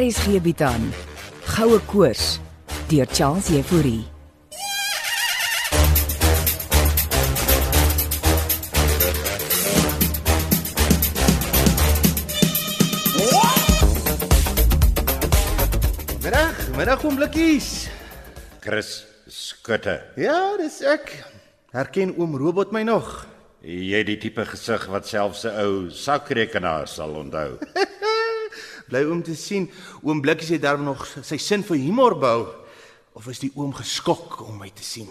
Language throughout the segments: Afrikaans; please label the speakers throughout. Speaker 1: RSG bied aan Goue Koors deur Charles Euphorie.
Speaker 2: Middag, middag oom Blikkies.
Speaker 3: Chris Skutte.
Speaker 2: Ja, dis ek. Herken oom Robot my nog?
Speaker 3: Jy het die tipe gesig wat selfs 'n ou sakrekenaar sal onthou.
Speaker 2: Bly oom te sien. Oom Blikkies het darm nog sy sin vir humor bou. Of is die oom geskok om my te sien?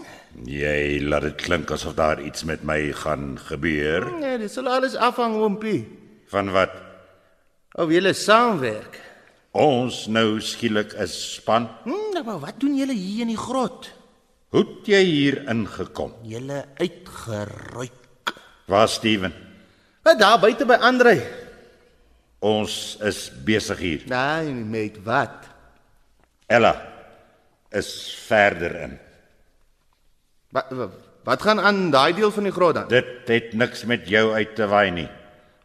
Speaker 3: Jy laat dit klink asof daar iets met my gaan gebeur.
Speaker 2: Nee, dit sal alles afhang oompie.
Speaker 3: Van wat?
Speaker 2: Of julle saamwerk.
Speaker 3: Ons nou skielik 'n span.
Speaker 2: Hm, nou, maar wat doen julle hier in die grot?
Speaker 3: Hoe het jy hier ingekom?
Speaker 2: Julle uitgeruik.
Speaker 3: Waar Steven?
Speaker 2: Wat daar buite by Andre?
Speaker 3: Ons is besig hier.
Speaker 2: Nee, met wat?
Speaker 3: Ella is verder in.
Speaker 2: Wat wat gaan aan daai deel van die grot dan?
Speaker 3: Dit het niks met jou uit te waai nie.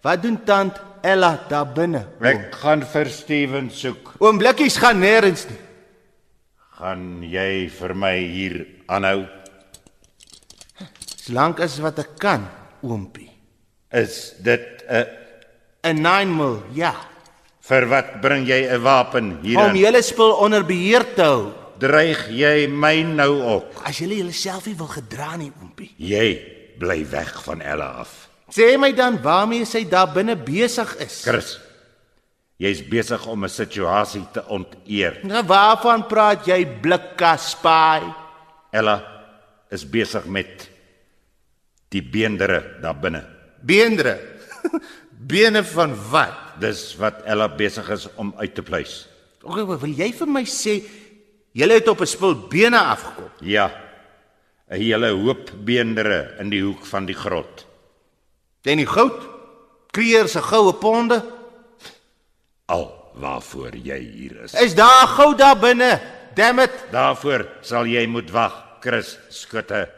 Speaker 2: Wat doen tant Ella daar binne?
Speaker 3: Ek gaan vir Steven soek.
Speaker 2: Oom Blikkies gaan nêrens nie.
Speaker 3: Gaan jy vir my hier aanhou?
Speaker 2: Solank as wat ek kan, oompie.
Speaker 3: Is dit 'n
Speaker 2: 'n 9 mil, ja.
Speaker 3: vir wat bring jy 'n wapen
Speaker 2: Om
Speaker 3: hierin?
Speaker 2: julle spul onder beheer te hou.
Speaker 3: Dreig jy my nou ook?
Speaker 2: As julle julleself nie wil gedra nie, oompie.
Speaker 3: Jy bly weg van Ella af.
Speaker 2: Sê my dan waarmee sy daar binne besig is.
Speaker 3: Chris, jy's besig om 'n situasie te onteer.
Speaker 2: Nou waarvan praat jy, Blikkaspaai?
Speaker 3: Ella is besig met die beendere daar binne.
Speaker 2: Beendre. Bene van wat?
Speaker 3: Dis wat Ella besig is om uit te pleis.
Speaker 2: Okay, maar wil jy vir my sê julle het op 'n spul bene afgekom?
Speaker 3: Ja. 'n Hele hoop beendere in die hoek van die grot.
Speaker 2: Ten die goud, kreer se goue ponde.
Speaker 3: Al waarvoor jy hier is.
Speaker 2: Is daar goud daar binne? Damn it.
Speaker 3: Daarvoor sal jy moet wag, Chris Skutte.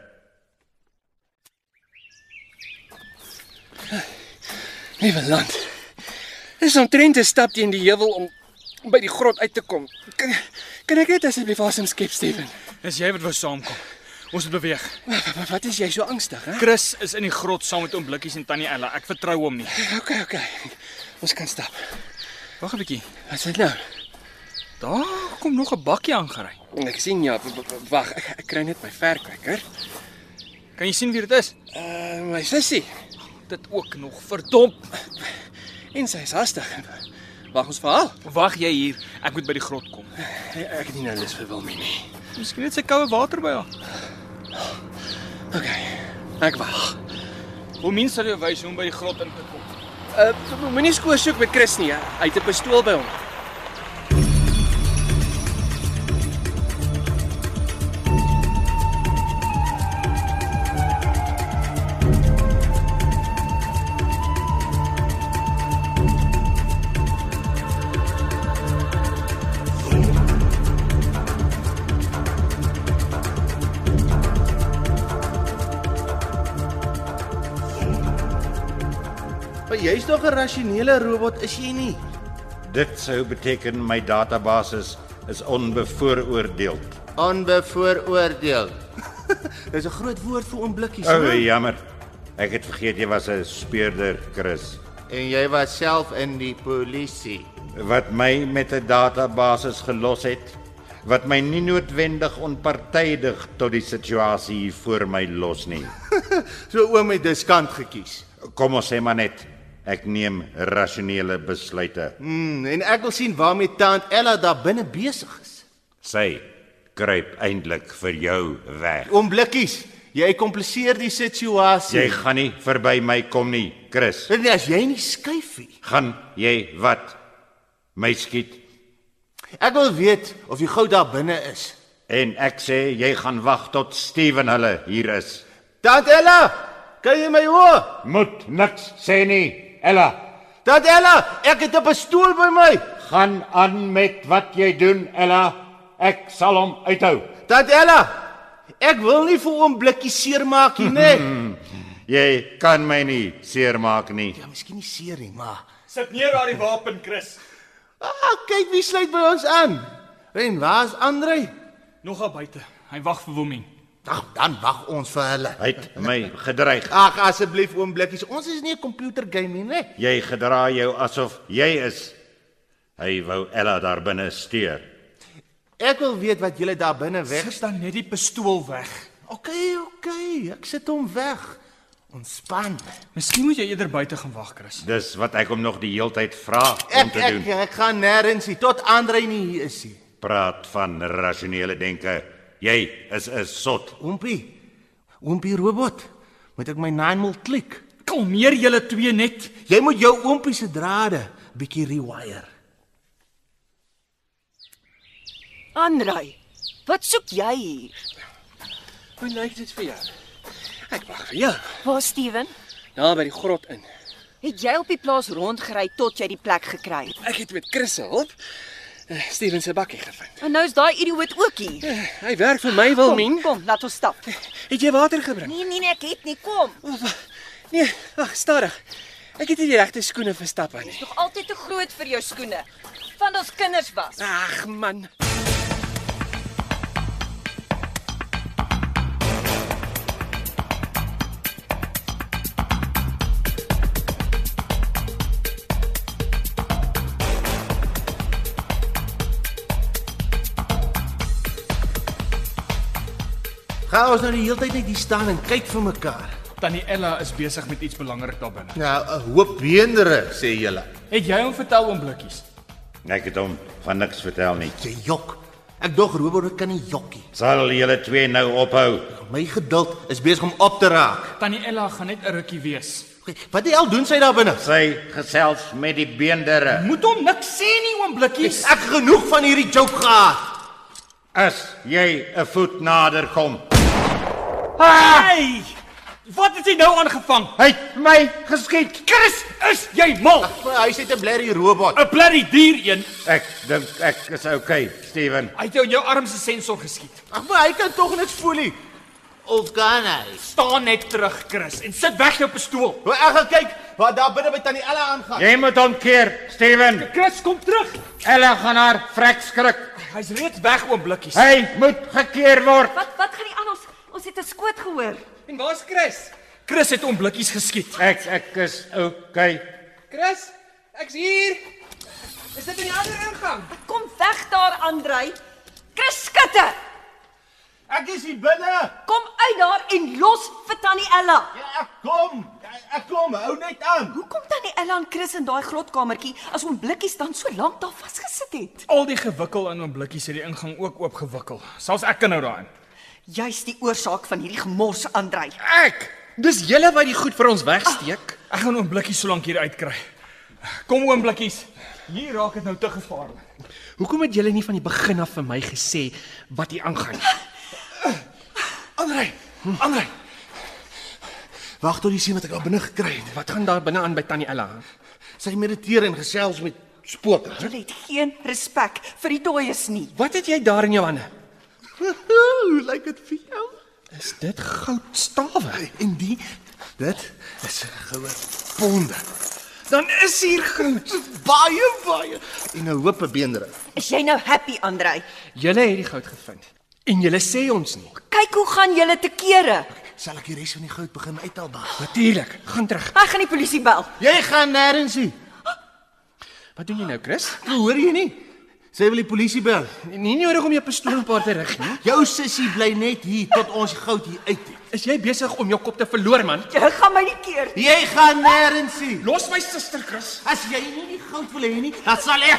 Speaker 4: Liewe land. Dis omtrent 'n stap teen die heuwel om by die grot uit te kom. Kan, kan ek net asseblief asem skep, Steven?
Speaker 5: Dis jy wat wou saamkom. Ons moet beweeg.
Speaker 4: Wat, wat is jy so angstig, hè?
Speaker 5: Chris is in die grot saam met oom Blikkies en tannie Ella. Ek vertrou hom nie.
Speaker 4: Okay, okay. Ons kan stap.
Speaker 5: Wag 'n bietjie.
Speaker 4: Wat is dit nou?
Speaker 5: Daar kom nog 'n bakkie aangery.
Speaker 4: Ek sien ja, w- w- wag, ek, ek kry net my verkyker.
Speaker 5: Kan jy sien wie dit is?
Speaker 4: Uh my sussie.
Speaker 5: Dit ook nog. Verdomp.
Speaker 4: En sy is hastig. Wag ons vir haar.
Speaker 5: Wag jy hier. Ek moet by die grot kom.
Speaker 4: Ek ek het nie nou lus vir Wilmie nie.
Speaker 5: Miskien het sy koue water by haar.
Speaker 4: Okay. Ek wag.
Speaker 5: Hoe min sal jy wys hoe om by die grot in te kom?
Speaker 4: Uh mo- moenie skoor soek met Chris nie. hè. Hy het 'n pistool by hom.
Speaker 2: Maar jy's tog 'n rasionele robot, is jy nie?
Speaker 3: Dit sou beteken my databasis is onbevooroordeeld.
Speaker 2: Onbevooroordeel. Dis 'n groot woord vir oomblikkies.
Speaker 3: O,
Speaker 2: né?
Speaker 3: jammer. Ek het vergeet jy was 'n speurder, Chris.
Speaker 2: En jy was self in die polisie.
Speaker 3: Wat my met 'n databasis gelos het, wat my nie noodwendig onpartydig tot die situasie hier voor my los nie.
Speaker 2: So oom het dus kant gekies.
Speaker 3: Kom ons sê maar net ek neem rasionele besluite.
Speaker 2: Mm, en ek wil sien waarmee tant Ella daar binne besig is.
Speaker 3: Sy kruip eintlik vir jou weg.
Speaker 2: Oomblikkies, jy kompliseer die
Speaker 3: Jy
Speaker 2: situasie.
Speaker 3: gaan nie verby my kom nie, Chris.
Speaker 2: Dit is jy nie skuif nie.
Speaker 3: Gaan jy wat? My skiet
Speaker 2: Ek wil weet of die goud daar binne is.
Speaker 3: en ek sê jy gaan wag tot Steven hulle hier is.
Speaker 2: Tant Ella, kan jy my hoor?
Speaker 3: Moet niks sê nie. Ella,
Speaker 2: Tant Ella, ek het 'n pistool by my.
Speaker 3: gaan aan met wat jy doen, Ella. Ek sal hom uithou.
Speaker 2: Tant Ella, ek wil nie vir oom blikkies seermaak nie, né?
Speaker 3: Jy kan my nie seermaak nie.
Speaker 2: Ja, miskien nie seer nie, maar
Speaker 5: Sit neer daar die wapen, Chris.
Speaker 2: Ah, kyk wie sluit by ons aan. Ren, waar's Andre?
Speaker 5: Nog daar buite. Hy wag vir Woemie.
Speaker 2: Ag, dan wag ons vir hulle.
Speaker 3: Hy het my gedreig.
Speaker 2: Ag, asseblief oom Blikkies, ons is nie 'n computer game nie, nee. né?
Speaker 3: Jy gedra jou asof jy is. Hy wou Ella daar binne steur.
Speaker 2: Ek wil weet wat julle daar binne reg.
Speaker 5: Dis dan net die pistool weg.
Speaker 2: OK, OK, ek sit hom weg. Ontspan.
Speaker 5: Miskien moet jy eerder buite gaan wag, Chris.
Speaker 3: Dis wat ek hom nog die heeltyd vra om
Speaker 2: Ek
Speaker 3: te
Speaker 2: ek,
Speaker 3: doen.
Speaker 2: ek gaan nêrens nie tot Andre nie hier is nie.
Speaker 3: Praat van rasionele denke. Jy is 'n sot.
Speaker 2: Oompie. Oompie robot. Moet ek my 9 mil klik?
Speaker 5: Kalmeer julle twee net.
Speaker 2: Jy moet jou oompie se drade bietjie rewire.
Speaker 1: Andrei, wat soek jy hier?
Speaker 4: Hoe lyk dit vir jou? Ek wag vir jou.
Speaker 1: Waar Steven?
Speaker 4: Daar by die grot in.
Speaker 1: Het jy op die plaas rondgery tot jy die plek gekry het?
Speaker 4: Ek het met Chris se hulp eh, Steven se bakkie gevind.
Speaker 1: En nou is daai idioot ook hier.
Speaker 4: Eh, Hy werk vir my Wilmien.
Speaker 1: kom, laat ons stap.
Speaker 4: Het jy water gebring?
Speaker 1: Nee, nee, nee, ek het nie kom.
Speaker 4: O, wa- Nee, wag, stadig. Ek het nie die regte skoene vir stap aan nie.
Speaker 1: Nog altyd te groot vir jou skoene. Van ons kinders was.
Speaker 4: Ag man.
Speaker 2: Gaan ons nou die hele tyd net hier staan en kyk vir mekaar.
Speaker 5: Tannie Ella is besig met iets belangrik daar binne.
Speaker 2: Nou, 'n hoop beendere sê julle.
Speaker 5: Het jy hom vertel oom Blikkies?
Speaker 3: Ek het hom van niks vertel nie.
Speaker 2: Jy jok. Ek dog robot kan nie jokkie.
Speaker 3: Sal julle twee nou ophou?
Speaker 2: My geduld is besig om op te raak.
Speaker 5: Tannie Ella gaan net 'n rukkie wees.
Speaker 2: Wat die hel doen sy daar binne?
Speaker 3: Sy gesels met die beendere.
Speaker 5: Moet hom niks sê nie, oom Blikkies.
Speaker 2: Ek genoeg van hierdie joke gehad.
Speaker 3: As jy 'n voet nader kom.
Speaker 4: Ah!
Speaker 5: Hey! Wat het jy nou aangevang?
Speaker 3: Hy het my geskiet.
Speaker 5: Chris, is jy mal?
Speaker 2: Maar hy sê 'n blerrie robot.
Speaker 5: 'n Bloody dier een.
Speaker 3: Ek dink ek is okay, Steven.
Speaker 5: Hy het jou in jou arm se sensor geskiet.
Speaker 2: Ag, maar hy kan tog niks voel nie. Of kan hy?
Speaker 5: Staan net terug, Chris, en sit weg jou pistool.
Speaker 2: Maar ek gaan kyk wat daar binne by tannie Ella aangaan.
Speaker 3: Jy moet hom keer, Steven.
Speaker 5: Chris, kom terug.
Speaker 3: Ella gaan haar vrek skrik.
Speaker 5: Hy's reeds weg oom Blikkies.
Speaker 3: Hy moet gekeer word.
Speaker 6: Wat wat gaan nie aan ons ons het 'n skoot gehoor.
Speaker 5: En waar's Chris? Chris het oom Blikkies geskiet.
Speaker 3: Ek ek is okay.
Speaker 4: Chris, ek's hier. Is dit in die ander ingang?
Speaker 6: Kom weg daar Andrei. Chris skitte.
Speaker 2: Ek is hier binne.
Speaker 6: Kom uit daar en los vir tannie Ella.
Speaker 2: Ja, ek kom. Ek- Ek kom. Hou net aan.
Speaker 6: Hoekom tannie Ella en Chris in daai grotkamertjie as oom Blikkies dan so lank daar vasgesit het?
Speaker 5: Al die gewikkel aan oom Blikkies het die ingang ook oopgewikkel. Selfs ek kan nou daarin.
Speaker 6: Juis die oorsaak van hierdie gemors Andrei.
Speaker 4: Ek. Dis julle wat die goed vir ons wegsteek.
Speaker 5: Ek gaan oom Blikkies so lank hier uitkry. Kom oom Blikkies. Hier raak dit nou te gevaarlik.
Speaker 4: Hoekom het julle nie van die begin af vir my gesê wat hier aangaan nie?
Speaker 2: Andrei. Andrei. Wag tot jy sien wat ek daar binne gekry het.
Speaker 4: Wat gaan daar binne aan by Tannie Ella?
Speaker 2: Sy mediteer en gesels met spooke.
Speaker 6: Hulle het geen respek vir die dooies nie.
Speaker 4: Wat het jy daar in jou hande?
Speaker 2: Hoe lyk dit vir jou?
Speaker 4: Is dit goudstawe?
Speaker 2: En die dit is 'n goue ponde.
Speaker 4: Dan is hier goud.
Speaker 2: Baie baie en 'n hoop beendere.
Speaker 6: Is jy nou happy Andrei?
Speaker 4: Julle het die goud gevind. En julle sê ons nie.
Speaker 6: Kyk hoe gaan julle te kere.
Speaker 2: Sal ek die res van die goud begin uithaal bag?
Speaker 4: Natuurlik. Gaan terug.
Speaker 6: Ek gaan die polisie bel.
Speaker 2: Jy gaan nêrens nie.
Speaker 4: Wat doen jy nou, Chris?
Speaker 2: Hoor jy nie? Sy wil die polisie bel.
Speaker 4: Nie nodig om jou pistool op haar te rig nie.
Speaker 2: Jou sussie bly net hier tot ons goud hier uit het.
Speaker 4: Is jy besig om jou kop te verloor, man?
Speaker 6: Jy gaan my nie keer nie.
Speaker 2: Jy gaan nêrens nie.
Speaker 4: Los my suster, Chris.
Speaker 2: As jy nie die goud wil hê nie, dan sal ek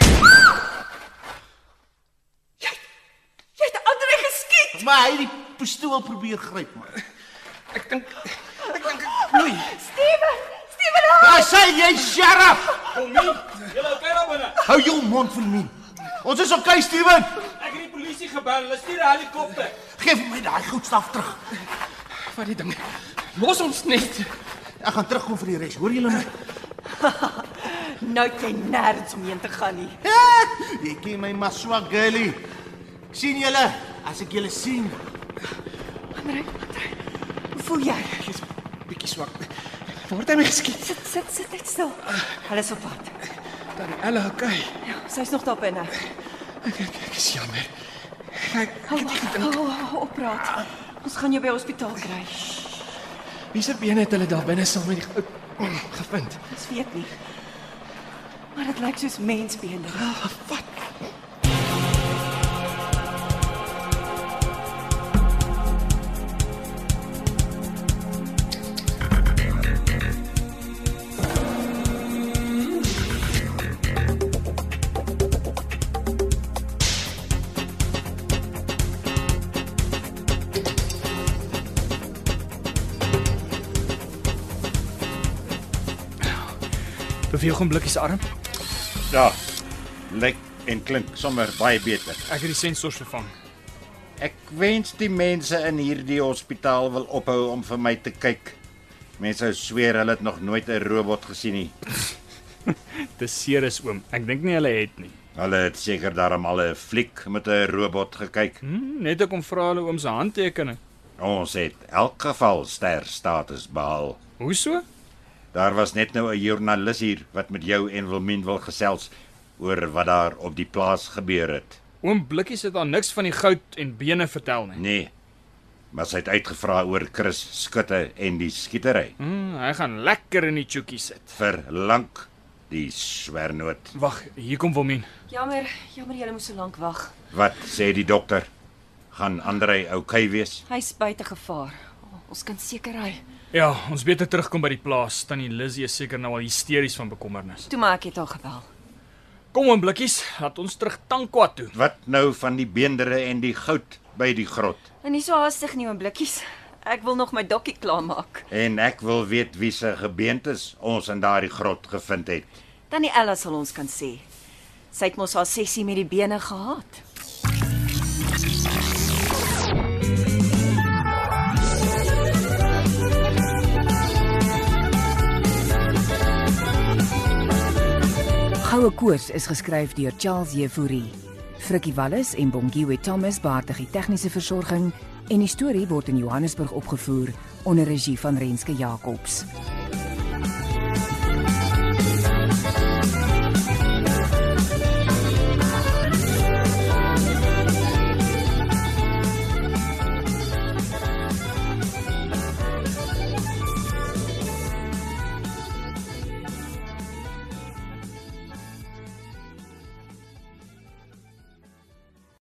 Speaker 6: Jy het Andrei geskiet.
Speaker 2: maar hy die pistool probeer gryp maar.
Speaker 4: Ek dink ek dink ek bloei.
Speaker 6: Steven, Steven, ah! help!
Speaker 2: Daar sê jy sheriff.
Speaker 5: Kom nie. Julle okay daar binne.
Speaker 2: Hou jou mond van my. Ons is okay, Steven.
Speaker 5: Ek het die polisie gebel. Hulle stuur 'n helikopter.
Speaker 2: Geef vir my daai goudstaf terug.
Speaker 4: Vat die ding. Los ons net.
Speaker 2: Ek gaan terugkom vir die res. Hoor julle my?
Speaker 6: Nou het jy nêrens om heen te gaan nie.
Speaker 2: Ah, Jy ken my maar swak girlie. Ek sien julle as ek julle sien.
Speaker 6: Hoe voel jy?
Speaker 4: Ek's bietjie swak. Word hy my geskiet?
Speaker 6: Sit sit sit net stil. Alles op pad.
Speaker 4: Tannie Ella, okay.
Speaker 6: Sy's nog daar binne.
Speaker 4: Ek ek, ek is jammer. Kyk,
Speaker 6: Hou wag. Oh, Opraat. Ons gaan jou by hospitaal kry.
Speaker 4: wie se bene het hulle daar binne saam met die ou gevind?
Speaker 6: Ons weet nie. Maar dit lyk soos mensbene.
Speaker 5: Beweeg hom blikkies arm.
Speaker 3: Ja. Lyk en klink sommer baie beter.
Speaker 5: Ek het die sensors vervang.
Speaker 3: Ek wens die mense in hierdie hospitaal wil ophou om vir my te kyk. Mense sou sweer hulle het nog nooit 'n robot gesien nie.
Speaker 5: Dis seer is oom. Ek dink nie hulle het nie.
Speaker 3: Hulle het seker daarom al 'n fliek met 'n robot gekyk.
Speaker 5: Hmm, net ek kom vra hulle oom se handtekening.
Speaker 3: Ons het elk geval ster status behaal.
Speaker 5: Hoe so?
Speaker 3: Daar was net nou 'n joernalis hier wat met jou en Wilmien wil gesels oor wat daar op die plaas gebeur het.
Speaker 5: Oom Blikkies het daar niks van die goud en bene vertel nie.
Speaker 3: Nee. Maar sy het uitgevra oor Chris skutte en die skietery.
Speaker 5: Hmm, hy gaan lekker in die chookie sit.
Speaker 3: Vir lank die swernoot.
Speaker 5: Wag, hier kom Wilmien.
Speaker 6: Jammer, jammer jy moes so lank wag.
Speaker 3: Wat sê die dokter? Gaan Andrei oukei okay wees?
Speaker 6: Hy's buite gevaar. O, Ons kan seker ry.
Speaker 5: Ja, ons beter terugkom by die plaas. Tannie Lizzie is seker nou al hysteries van bekommernis.
Speaker 6: Toe maar ek het haar gebel.
Speaker 5: Kom oom Blikkies, laat ons terug Tankwa toe.
Speaker 3: Wat nou van die beendere en die goud by die grot?
Speaker 6: En nie so haastig nie, oom Blikkies. Ek wil nog my dokkie klaarmaak.
Speaker 3: En ek wil weet wie se gebeentes ons in daardie grot gevind het.
Speaker 6: Tannie Ella sal ons kan sê. Sy het mos haar sessie met die bene gehad.
Speaker 1: Goue Koors is geskryf deur Charles Jefouri. Frikkie Wallis en Bongiwe Thomas baartig die tegniese versorging en die storie word in Johannesburg opgevoer onder regie van Renske Jacobs.